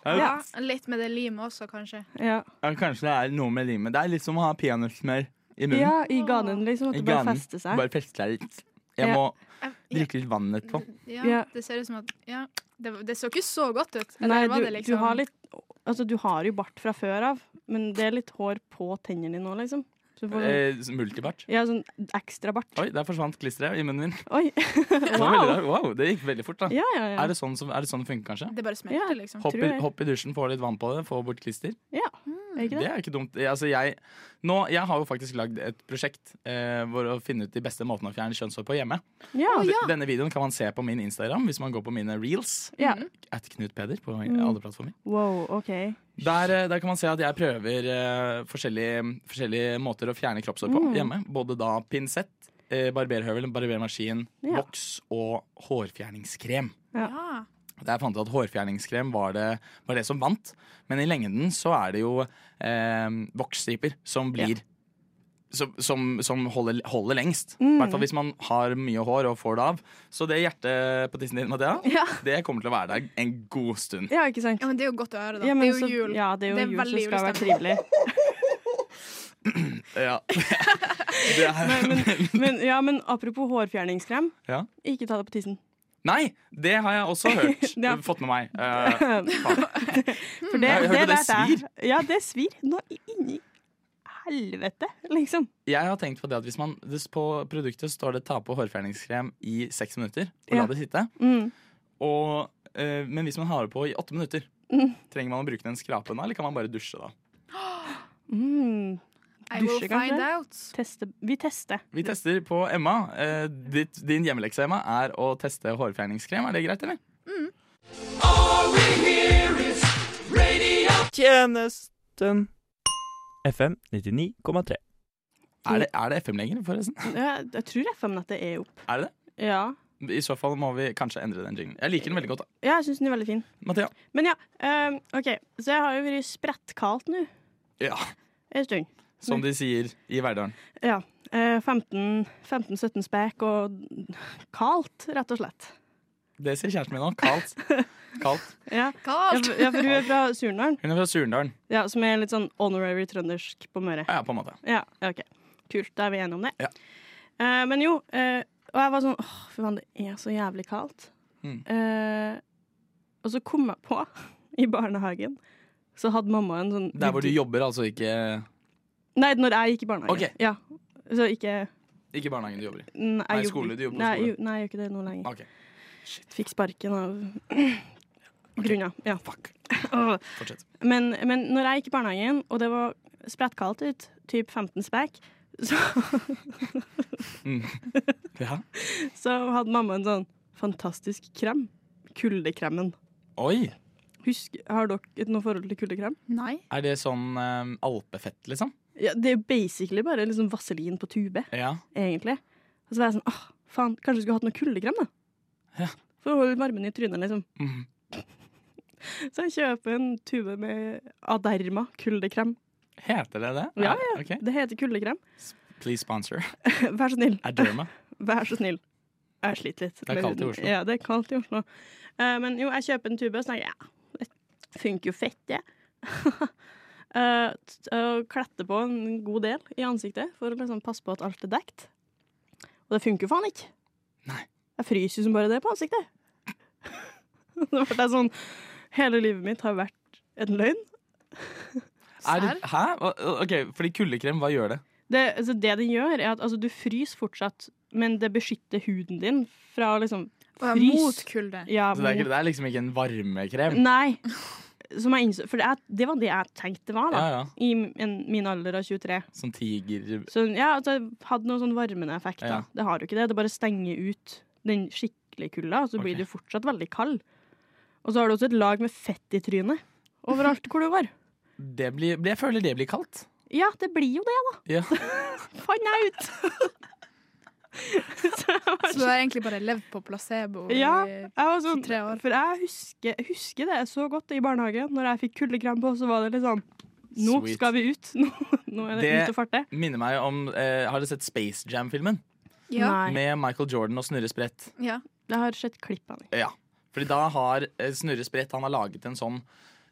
B: Det er jo,
F: ja. Litt med det limet også, kanskje.
E: Ja.
B: ja, kanskje det er noe med limet. Det er litt som å ha peanøttsmør i munnen.
E: ja, i ganen, liksom. At
B: I
E: det bare
B: ganen.
E: fester seg.
B: Bare feste deg litt. Jeg
E: Ja.
B: må
F: Jeg- ja,
B: drikke litt vann etterpå.
F: ja,
E: Ja.
F: Det ser ut som at ja. det, det så ikke så godt ut. Eller
E: Nei,
F: var
E: du,
F: det
E: du
F: liksom
E: har litt Altså, du har jo bart fra før av, men det er litt hår på tennene dine nå, liksom. Så du får sånn,
B: Eh, multibart.
E: ja, sånn ekstra bart.
B: Oi, der forsvant klisteret i munnen min.
E: Oi.
B: Det, var veldig rart. wow, det gikk veldig fort, da.
E: Ja, ja, ja.
B: Er, det sånn som, er det sånn det funker, kanskje?
F: Det bare smelter,
E: Ja.
F: liksom.
B: Hopp i,
E: jeg.
B: hopp i dusjen, få litt vann på det, få bort klister.
E: Ja, er ikke
B: Det
E: det?
B: er ikke dumt. Jeg- Altså, jeg, nå, jeg har jo faktisk lagd et prosjekt eh, hvor å finne ut de beste måtene å fjerne kjønnshår på hjemme.
E: Ja.
B: D- Denne videoen kan man se på min Instagram hvis man går på mine reels.
E: ja. Mm.
B: At Knut Peder på alle plattformer.
E: Wow, OK.
B: Der, eh, der kan man se at jeg prøver eh, forskjellige, forskjellige måter å fjerne kroppshår på
E: Mm.
B: hjemme. Både da pinsett, eh, barberhøvel, barbermaskin,
E: Ja.
B: voks og hårfjerningskrem.
F: Ja.
B: Der fant jeg at hårfjerningskrem var det, var det som vant. Men i lengden så er det jo eh, voksstriper som blir Som, som, som holder, holder lengst. I
E: Mm.
B: hvert fall hvis man har mye hår og får det av. Så det hjertet på tissen din, Mathea,
E: Ja.
B: det kommer til å være der en god stund.
E: ja, ikke sant?
F: ja, men det er jo godt å høre, da.
E: Ja,
F: det
E: men
F: er
E: så-
F: jo jul.
E: Ja, det er jo
F: Det er
E: jul, så
F: veldig
E: skal det være
F: julestemning.
E: trivelig.
B: Ja. Det er,
E: Men, ja, men apropos hårfjerningskrem,
B: ja.
E: ikke ta det på tissen.
B: Nei, det har jeg også hørt.
E: Ja.
B: Fått med meg. Eh, faen.
E: For det,
B: Jeg hørte
E: det
B: det
E: lærte jeg. Ja, det svir. Nå inni helvete, liksom.
B: jeg har tenkt på det at hvis man det- På produktet står det 'ta på hårfjerningskrem i seks minutter' og
E: Ja.
B: la det sitte.
E: Mm.
B: Og, eh, men hvis man har det på i åtte minutter, trenger man å bruke den skrapen da, eller kan man bare dusje da?
E: Mm.
F: I will
E: Dusje, kanskje?
F: find out.
E: Teste. Vi tester.
B: Vi tester på Emma. Eh, ditt, din hjemmelekse, Emma, er å teste hårfjerningskrem. Er det greit, eller?
J: Tjenesten. FM 99,3.
B: Er det, er det FM lenger, forresten?
E: Ja, jeg tror FM-nettet er opp.
B: Er det
E: Ja,
B: det? I så fall må vi kanskje endre den jinglen. Jeg liker den veldig godt. da.
E: ja jeg syns den er veldig fin.
B: Mathea?
E: Men ja, ehm, OK. Så jeg har jo vært sprettkaldt nå
B: Ja,
E: en stund.
B: som de sier i Verdalen.
E: Ja. eh, 15 15-17 spek og kaldt, rett og slett.
B: Det sier kjæresten min nå. Kaldt. Kaldt.
E: Ja, ja,
F: Kaldt!
E: for- ja for hun er fra Surnadal,
B: Hun er fra Surndalen.
E: ja, som er litt sånn honorary trøndersk på Møre.
B: Ja, på en måte.
E: Ja, ja, ok. Kult, da er vi enige om det.
B: Ja.
E: Eh, men jo, eh, og jeg var sånn åh, fy faen, det er så jævlig kaldt.
B: Mm.
E: Eh, og så kom jeg på, i barnehagen, så hadde mamma en sånn
B: Der hvor du jobber, altså ikke
E: Nei, når jeg gikk i barnehagen.
B: Ok.
E: Ja. Så ikke
B: Ikke barnehagen du jobber i.
E: Nei, jeg
B: Nei,
E: jobber-
B: skole, du jobber på
E: nei,
B: skole. Ah,
E: jo- Nei, jeg gjør ikke det nå lenger.
B: Ok.
E: Fikk sparken av grunner. Ja.
B: Fuck.
E: Åh.
B: Fortsett.
E: Men, men når jeg gikk i barnehagen, og det var sprettkaldt ut, typ 15 spek, så,
B: Ja.
E: så hadde mamma en sånn fantastisk krem. Kuldekremen.
B: Oi!
E: Husk, har dere et noe forhold til kuldekrem?
F: Nei.
B: Er det sånn eh, alpefett, liksom?
E: Ja, det er jo basically bare liksom vaselin på tube,
B: Ja.
E: egentlig. Og så var jeg sånn, åh, faen, kanskje du skulle hatt noe kuldekrem, da?
B: Ja.
E: For å holde varmen i trynet, liksom.
B: Mhm.
E: Så jeg kjøper en tube med Aderma kuldekrem.
B: Heter det det?
E: Ja,
B: ja. Ok.
E: Det heter kuldekrem.
B: Please sponsor.
E: Vær så snill.
B: Er derma.
E: Vær så snill. Jeg har slitt litt.
B: Det er
E: med
B: kaldt i
E: huden.
B: Oslo.
E: Ja, det er kaldt i Oslo. Eh, men jo, jeg kjøper en tube og så tenker jeg, ja, det funker jo fett, det. Eh, t- Og klette på en god del i ansiktet for å liksom passe på at alt er dekt. Og det funker jo faen ikke.
B: Nei.
E: Jeg fryser jo som bare det på ansiktet. det ble jeg sånn Hele livet mitt har vært en løgn.
B: Er det, hæ? Hva- OK, fordi kuldekrem, hva gjør det?
E: Det, altså, det den gjør, er at altså, du fryser fortsatt, men det beskytter huden din fra å liksom
F: Å, ja,
E: frys.
F: mot kulde.
E: Ja,
B: Så det er, ikke,
E: mot-
B: det er liksom ikke en varmekrem?
E: Nei. Som jeg innså, for det, er, det var det jeg tenkte det var, da.
B: Ja, ja.
E: I en, min alder av 23.
B: Sånn tiger...
E: Så ja, at det hadde noen sånn varmende effekt.
B: Ja.
E: Da. Det har jo ikke det. Det bare stenger ut den skikkelige kulda, og så
B: Ok.
E: blir du fortsatt veldig kald. Og så har du også et lag med fett i trynet overalt hvor du går.
B: Det blir, jeg føler det blir kaldt.
E: Ja, det blir jo det, da.
B: Ja.
E: Fant jeg ut!
F: Så du har egentlig bare levd på placebo
E: Ja,
F: i
E: jeg var sånn, for jeg husker, jeg husker det så godt i barnehagen. Når jeg fikk kuldekrem på, så var det litt sånn Nå
B: Sweet.
E: skal vi ut! Nå, nå er det,
B: Det
E: ut og farte.
B: minner meg om eh, Har dere sett Space Jam-filmen?
E: Ja. Nei.
B: Med Michael Jordan og Snurre Sprett.
F: Ja.
E: Jeg har sett klipp av det.
B: Ja. Fordi da har eh, Snurre Sprett Han har laget en sånn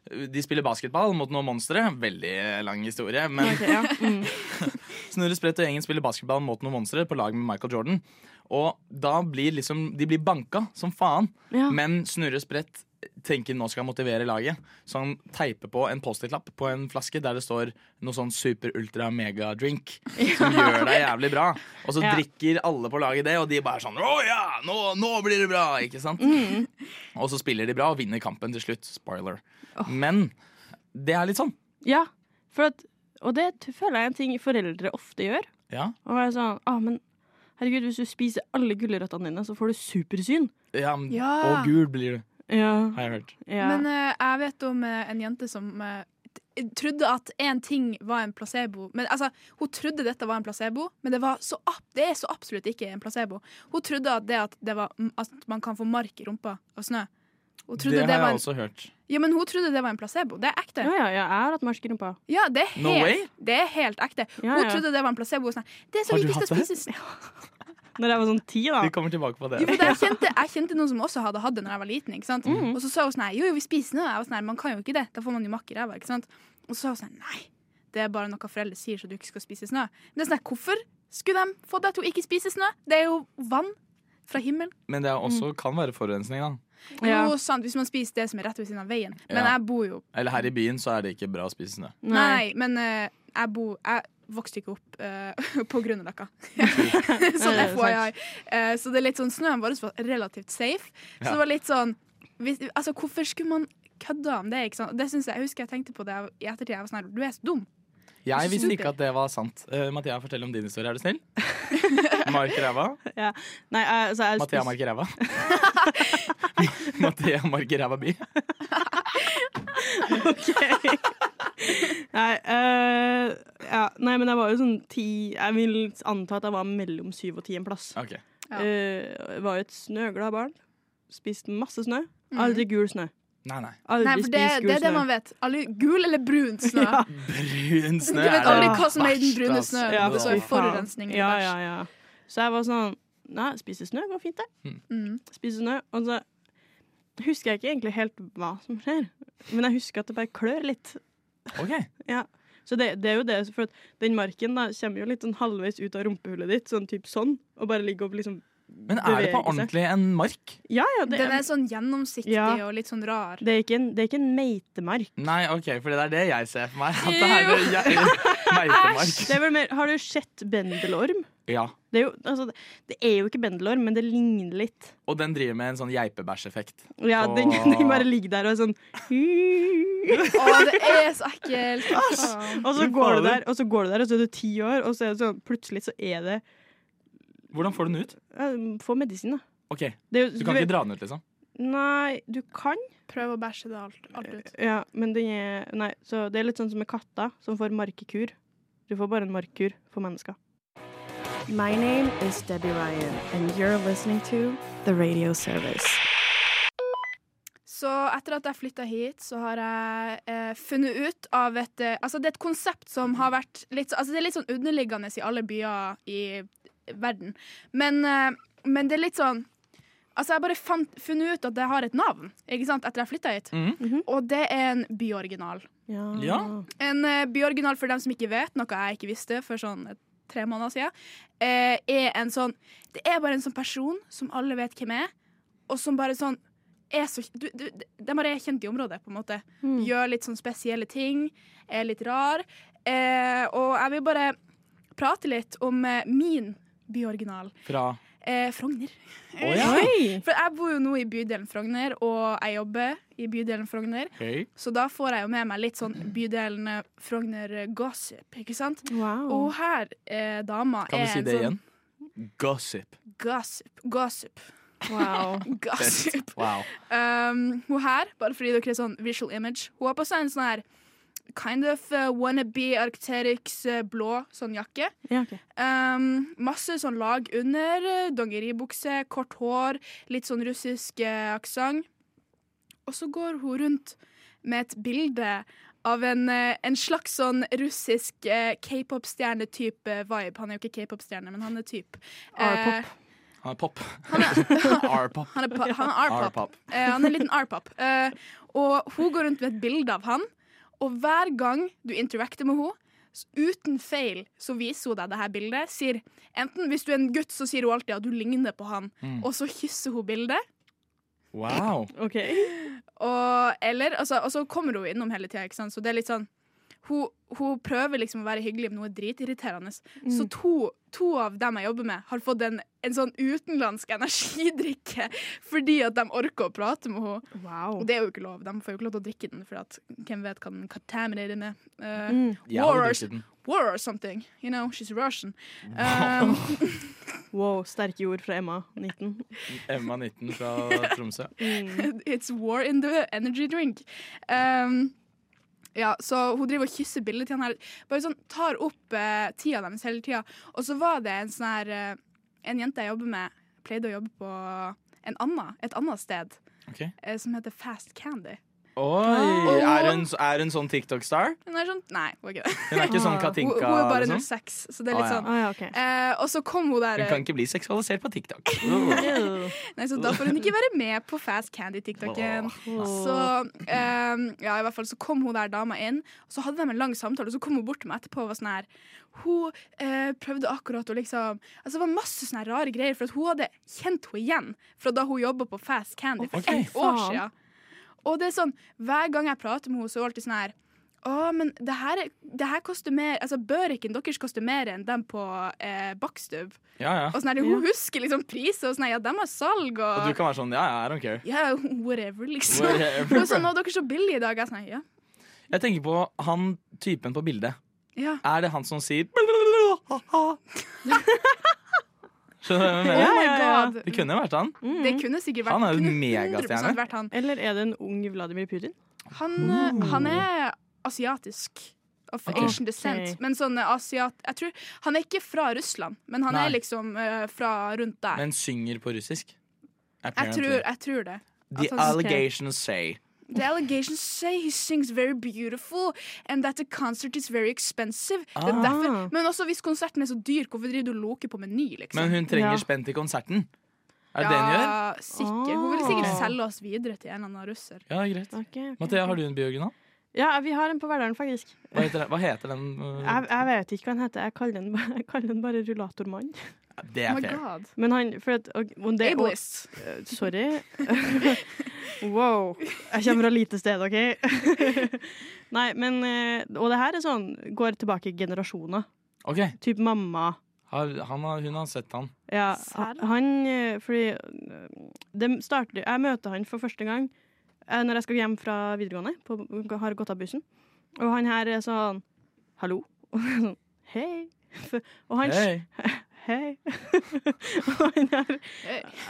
B: De spiller basketball mot noen monstre. Veldig lang historie, men
F: Mm.
B: Snurre Sprett og gjengen spiller basketball mot noen monstre på lag med Michael Jordan. Og da blir liksom De blir banka som faen,
K: Ja.
B: men Snurre Sprett tenker nå skal han motivere laget. Så han teiper på en Post-It-lapp på en flaske der det står noe sånn super-ultra-mega-drink. Som gjør deg jævlig bra. Og så
K: Ja.
B: drikker alle på laget det, og de bare sånn Å ja, nå, nå blir det bra! Ikke sant?
F: Mm.
B: Og så spiller de bra og vinner kampen til slutt. Spoiler. Men det er litt sånn.
E: Ja, for at, og det t- føler jeg er en ting foreldre ofte gjør.
B: Ja.
E: Og jeg er sånn, ah, men herregud, hvis du spiser alle gulrøttene dine, så får du supersyn.
B: Ja, men-
F: Ja.
B: Og gul blir du,
E: Ja.
B: har jeg hørt.
F: Men eh, jeg vet om eh, en jente som eh, t- trodde at én ting var en placebo. Men, altså, hun trodde dette var en placebo, men det, var så, ab- det er så absolutt ikke en placebo. Hun trodde at det at, det var, m- at man kan få mark i rumpa av snø. Hun trodde
B: det har
F: var
B: jeg
F: en,
B: også hørt.
F: Ja, men hun trodde det var en placebo. Det er ekte.
E: Ja, ja, ja, jeg har hatt mark i rumpa.
F: Ja, det er
E: No way?
F: helt, det er helt ekte.
E: Ja,
F: Hun
E: ja.
F: trodde det var en placebo. Sånn, det er så
E: Har du
F: viktig å
E: hatt det?
F: spise snø.
E: Når jeg var sånn ti, da.
B: Vi kommer tilbake på det.
F: Jo, for jeg, kjente, jeg kjente noen som også hadde hatt det når jeg var liten. Ikke sant? Og så sa hun sånn her, Jo, jo, vi spiser nå. Jeg var sånn her, Man kan jo ikke det. Da får man jo makk i ræva. ikke sant? Og så sa hun sånn Nei, det er bare noe foreldre sier, så du ikke skal spise snø. Men det er sånn her, hvorfor skulle de få deg til å ikke spise snø? Det er jo vann fra himmelen.
B: Men det er
F: Mm.
B: også, kan være forurensning, da.
F: Jo, sant, hvis man spiser det som er rett ved siden av veien. Men
B: Ja.
F: jeg bor jo
B: Eller her i byen så er det ikke bra å spise snø.
F: Nei, men eh, jeg, bo, jeg vokste ikke opp eh, på Grünerløkka. sånn
E: Ja, det er
F: FYI. Eh, så det er litt sånn snøen vår var relativt safe. Så
E: Ja.
F: det var litt sånn hvis, Altså, hvorfor skulle man kødde om det? Ikke sant? Det synes jeg, jeg husker jeg tenkte på det i ettertid. Jeg var sånn her, Du er så dum.
B: Jeg
F: Så
B: visste
F: stupid.
B: ikke at det var sant. Eh, Mathea, fortell om din historie, er du snill. Mark ræva.
E: Ja. Nei, jeg, altså,
B: Mathea
E: jeg spis-
B: Mark ræva. Mathea Mark ræva by.
E: Nei, eh, ja. Nei, men jeg var jo sånn ti Jeg vil anta at jeg var mellom syv og ti en plass.
B: Ok.
E: Eh, jeg var jo et snøglad barn. Spiste masse snø. Aldri gul snø.
B: Nei, nei.
E: Aldri
F: Mm. Nei, for det,
E: spis gul
F: det er det
E: snø.
F: man vet. Alle, gul eller brun snø.
E: Ja.
B: Brun snø
F: Du vet
B: er
F: aldri
B: det
F: hva som er i den
B: verste,
F: brune
B: ass.
F: snøen.
E: Ja,
F: Det
E: fy
F: er
E: faen.
F: forurensning eller
E: Ja,
F: bæsj.
E: ja, ja. Så jeg var sånn Nei, spise snø går fint, det.
F: Mm.
E: Spise snø. Og så husker jeg ikke egentlig helt hva som skjer, men jeg husker at det bare klør litt. Ja. Så det, det er jo det, for at den marken da kommer jo litt sånn halvveis ut av rumpehullet ditt, sånn typ sånn, og bare ligger og liksom
B: Men er det på
E: beveger seg.
B: ordentlig en mark?
E: Ja, ja.
F: Den er sånn gjennomsiktig
E: Ja.
F: og litt sånn rar.
E: Det er ikke en, det er ikke en meitemark.
B: Nei, OK, for det er det jeg ser for meg. At det er en jævlig meitemark.
E: Det er vel mer, har du sett bendelorm?
B: Ja.
E: Det er jo, altså, det er jo ikke bendelorm, men det ligner litt.
B: Og den driver med en sånn geipebæsjeffekt.
E: Ja, den,
B: Åh.
E: den bare ligger der og er sånn
F: Å, det er så ekkelt.
E: Og så går du der, og så går du der, og så er du ti år, og så er det sånn, plutselig så er det
B: Hvordan får du den ut?
E: ja, Få medisin, da.
B: OK,
E: Det er jo-
B: Du kan
E: du vet-
B: ikke dra den ut, liksom?
E: Nei, du kan.
F: Prøv å bæsje det alt, alt ut.
E: Ja, men den er Nei, så det er litt sånn som med katter som får markekur. Du får bare en markekur for mennesker.
G: My name is Debbie Ryan, and you're listening to The Radio Service.
F: Så etter at jeg flytta hit, så har jeg eh, funnet ut av et eh, Altså, det er et konsept som har vært litt så- Altså, det er litt sånn underliggende i alle byer i verden. Men, eh, men det er litt sånn Altså, jeg bare fant, funnet ut at det har et navn, ikke sant, etter jeg flytta hit. Og det er en byoriginal.
B: Ja.
F: En eh, byoriginal, for dem som ikke vet, noe jeg ikke visste for sånn eh, tre måneder siden, eh, er en sånn Det er bare en sånn person som alle vet hvem er, og som bare sånn er så, du, du, De bare er kjent i området, på en måte.
E: Mm.
F: Gjør litt sånn spesielle ting, er litt rar. Eh, og jeg vil bare prate litt om eh, min byoriginal.
B: Fra
F: Eh, Frogner.
B: Å, ja. Oi.
F: For jeg bor jo nå i bydelen Frogner, og jeg jobber i bydelen Frogner.
B: Hei.
F: Så da får jeg jo med meg litt sånn bydelen eh, Frogner-gossip, ikke sant? Og her, eh, dama,
B: Kan
F: er
B: du si
F: en
B: det
F: sånn
B: igjen? Gossip.
F: Gossip. Gossip.
E: Wow.
F: Gossip.
B: Best. Wow.
F: Um, hun her, bare fordi dere er sånn visual image, hun har på seg en sånn her kind of uh, wannabe Arcterix uh, blå sånn jakke.
E: Ja, ok.
F: Um, masse sånn lag under, uh, dongeribukse, kort hår, litt sånn russisk uh, aksent. Og så går hun rundt med et bilde av en, eh, en slags sånn russisk eh, k-pop-stjerne-type vibe. Han er jo ikke k-pop-stjerne, men han er type.
B: R-pop.
F: Eh,
B: Han er pop. R-pop.
F: han er, pa- han er R-pop.
B: R-pop.
F: Eh, han er en liten R-pop. Eh, og hun går rundt med et bilde av han, og hver gang du interacter med henne, s- uten feil så viser hun deg det her bildet. Sier, enten Hvis du er en gutt, så sier hun alltid at du ligner på han,
B: Mm.
F: og så kysser hun bildet.
B: Wow.
F: Og, eller, altså, og så kommer hun innom hele tida, ikke sant? så det er litt sånn hun, hun prøver liksom å være hyggelig, men hun er dritirriterende. Så to, to av dem jeg jobber med, har fått en, en sånn utenlandsk energidrikke fordi at de orker å prate med henne. Og det er jo ikke lov. De får jo ikke lov til å drikke den, for at, hvem vet hva den contaminerer med. Eh,
B: Mm. Jeg hadde
F: war,
B: drukket
F: or,
B: den.
F: war or something. You know, she's Russian. Um,
E: Wow, sterke ord fra Emma 19.
B: Emma 19 fra Tromsø.
F: Um, It's war in the energy drink. Um, ja, så hun driver og kysser bildet til han her. Bare sånn tar opp eh, tida deres hele tida. Og så var det en sånn her eh, En jente jeg jobber med, pleide å jobbe på en anna, et annet sted,
B: Ok.
F: eh, som heter Fast Candy.
B: Oi! Er hun, er hun sånn TikTok-star?
F: Hun er sånn Nei, hun er ikke det.
B: Hun er ikke sånn Katinka,
F: Hun, hun er bare
B: liksom?
F: 06, så det er litt
B: Å, ja.
F: sånn. eh, og så kom hun der
B: Hun
F: eh,
B: kan ikke bli seksualisert på TikTok.
F: Nei, så da får hun ikke være med på Fast Candy-tiktoken.
B: Åh.
F: Så um, ja, i hvert fall så kom hun der dama inn, og så hadde de en lang samtale, og så kom hun bort til meg etterpå og var sånn her Hun eh, prøvde akkurat å liksom Altså det var masse sånne her rare greier, for at hun hadde kjent henne igjen fra da hun jobba på Fast Candy for
K: Ok.
F: ett år
K: Faen.
F: siden. Og det er sånn, hver gang jeg prater med henne, så er hun alltid sånn her å, men det her, er- det her koster mer Altså, Børiken deres koster mer enn dem på eh, Bakstub.
B: Ja, ja.
F: Og sånn er det, Hun husker liksom priser, og sånn er, ja, dem har salg. Og,
B: Og du kan være sånn ja, ja, I don't care.
F: Ja, whatever, liksom.
B: Whatever.
F: For det er sånn, «Å, dere er så billige i dag. Jeg er sånn, ja.
B: Jeg tenker på han typen på bildet.
F: ja.
B: Er det han som sier Skjønner du hva jeg mener?
E: Ja, ja, ja.
B: Det kunne jo vært han.
F: Oh
E: Mm.
F: Det kunne sikkert vært
B: Han er jo en
F: kunne 100%
B: megastjerne.
F: vært han.
E: Eller er det en ung Vladimir Putin?
F: Han,
B: Oh.
F: eh, han er asiatisk. Of
E: Ok.
F: Asian descent.
E: Ok.
F: Men sånn eh, asiat... Jeg tror, han er ikke fra Russland, men han
B: Nei.
F: er liksom eh, fra rundt der.
B: Men synger på russisk.
F: Jeg tror, altså, jeg tror det.
B: The
F: At han-
B: allegations say.
F: The allegations say he sings very beautiful and that the concert is very expensive. Det er
B: Ah.
F: derfor, men også hvis konserten er så dyr, hvorfor driver du og loker på Meny? Liksom?
B: Men hun trenger spent i konserten. Er det det hun
F: ja,
B: gjør?
F: Sikkert. Hun vil sikkert
E: Ah.
F: selge oss videre til en eller annen russer.
B: Ja, greit. Mathea, har du en bioriginal?
E: Ja, vi har en på Verdalen, faktisk.
B: Hva heter, den- hva heter den? uh,
E: Jeg, jeg vet ikke hva han heter. Jeg kaller den, bare- jeg kaller den bare Rullatormann.
B: Det er fair.
E: Men han for at, og, og det, og,
F: Oh Ableist.
E: Eh, sorry. wow. Jeg kommer fra lite sted, OK? Nei, men eh, Og det her er sånn går tilbake i generasjoner.
B: Ok,
E: Typ mamma.
B: har, han har, Hun har sett han.
E: Ja, ha- han eh, Fordi eh, det starter Jeg møter han for første gang eh, når jeg skal hjem fra videregående. På, har gått av bussen. Og han her er sånn Hallo. Og jeg er sånn, Hei. Og han
B: Hei.
E: Hei. Og han har,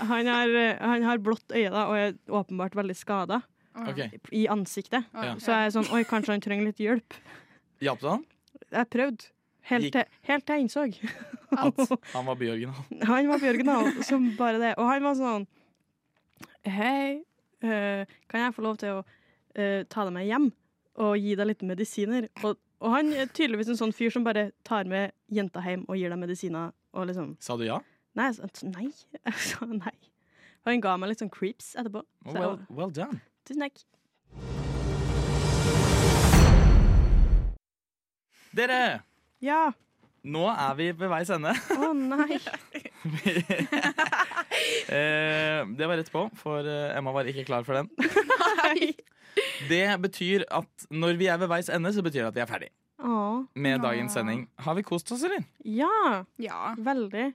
E: han, har, eh, han har blått øye da, og er åpenbart veldig skada
F: ah,
B: Ok.
E: i ansiktet.
B: Ja.
E: Så jeg er sånn Oi, kanskje han trenger litt hjelp.
B: Hjalp det han?
E: Jeg prøvde. Helt til, helt til jeg innså.
B: Han var bioriginal.
E: Han var på original som bare det. Og han var sånn Hei, eh, kan jeg få lov til å eh, ta deg med hjem og gi deg litt medisiner? Og, og han er tydeligvis en sånn fyr som bare tar med jenta hjem og gir deg medisiner. Og liksom
B: Sa du ja?
E: Nei, jeg sa nei. Jeg sa nei. Og han ga meg litt sånn creeps etterpå. Så jeg
B: Well,
E: var-
B: well done.
E: Tusen takk.
B: Dere!
E: Ja.
B: Nå er vi ved veis ende.
E: Å nei.
B: Eh, det var rett på, for eh, Emma var ikke klar for den. Det betyr at når vi er ved veis ende, så betyr det at vi er ferdig.
E: Å.
B: med dagens sending. Har vi kost oss, eller?
E: Ja.
F: ja.
E: Veldig.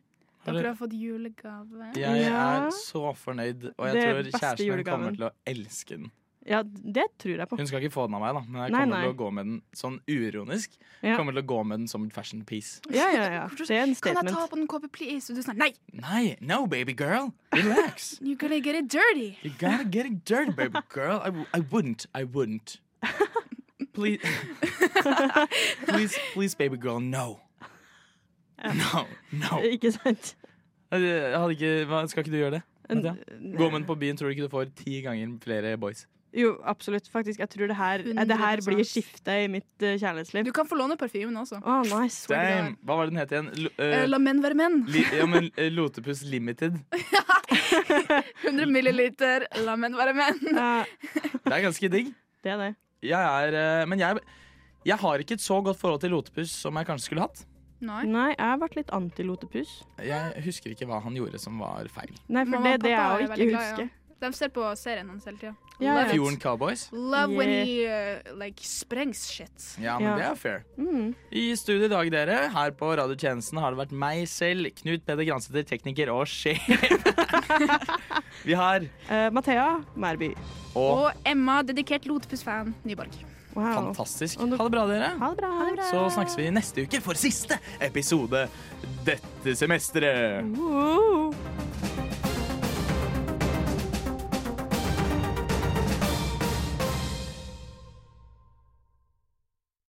F: Dere har fått julegave.
B: Jeg er så fornøyd, og jeg
E: Det er
B: tror
E: beste
B: kjæresten min
E: julegaven.
B: kommer til å elske den.
E: Ja, det tror jeg på.
B: Hun skal ikke få den av meg, da, men jeg
E: Nei,
B: kommer
E: nei.
B: til å gå med den sånn uironisk.
E: Ja.
B: Kommer til å gå med den som et fashion piece.
E: Ja, ja, ja. Det er en
F: Kan jeg
E: statement.
F: ta på den kåpen, please? Og du er sånn, nei!
B: Nei, no, baby girl! Relax!
F: You're gonna get it dirty!
B: You gotta get it dirty, baby girl. I, w- I wouldn't. I wouldn't. Please, please, please, baby girl, no. No, no.
E: Ikke sant?
B: Jeg hadde ikke, hva, skal ikke du gjøre det?
E: En-
B: Nadia? Gå med den på byen, tror du ikke du får ti ganger flere boys?
E: Jo, absolutt. Faktisk, jeg tror det her, eh, det her
F: 100%.
E: blir skiftet i mitt eh, kjærlighetsliv.
F: Du kan få låne parfymen
B: Øh,
F: også.
E: Å, nice.
B: Damn, hva var det den het igjen? Lo-
F: Eh,
B: eh,
F: La menn være menn.
B: li, ja, men eh, Lotepus Limited.
F: 100 milliliter. La menn være menn.
E: Ja,
B: Det er ganske digg.
E: Eh, det er det.
B: Jeg er, eh, men jeg, jeg har ikke et så godt forhold til Lotepus som jeg kanskje skulle hatt.
F: Nei.
E: Nei, jeg ble litt antilotepus.
B: Jeg husker ikke hva han gjorde som var feil.
E: Nei, for
F: Mamma
E: det er det
F: og pappa
E: jeg
F: er
E: jo
F: veldig
E: ikke
F: glad i
E: husker.
F: De ser på serien hans hele tida.
E: Ja,
F: Love,
E: ja.
B: Fjorden Cowboys.
F: love when
E: Yeah.
F: he uh, like sprengs shit.
B: Ja, men
E: Ja.
B: det er fair.
E: Mm.
B: I studio i dag, dere, her på Radiotjenesten har det vært meg selv, Knut Peder Gransæter, tekniker og sjef. Vi har
E: Eh, Mathea Mærby.
B: Og
F: Og Emma, dedikert Lotepus-fan, Nyborg.
E: Wow.
B: fantastisk. Ha det bra, dere.
E: Ha det bra. Ha det bra.
B: Så snakkes vi neste uke for siste episode dette semesteret.
E: Wow.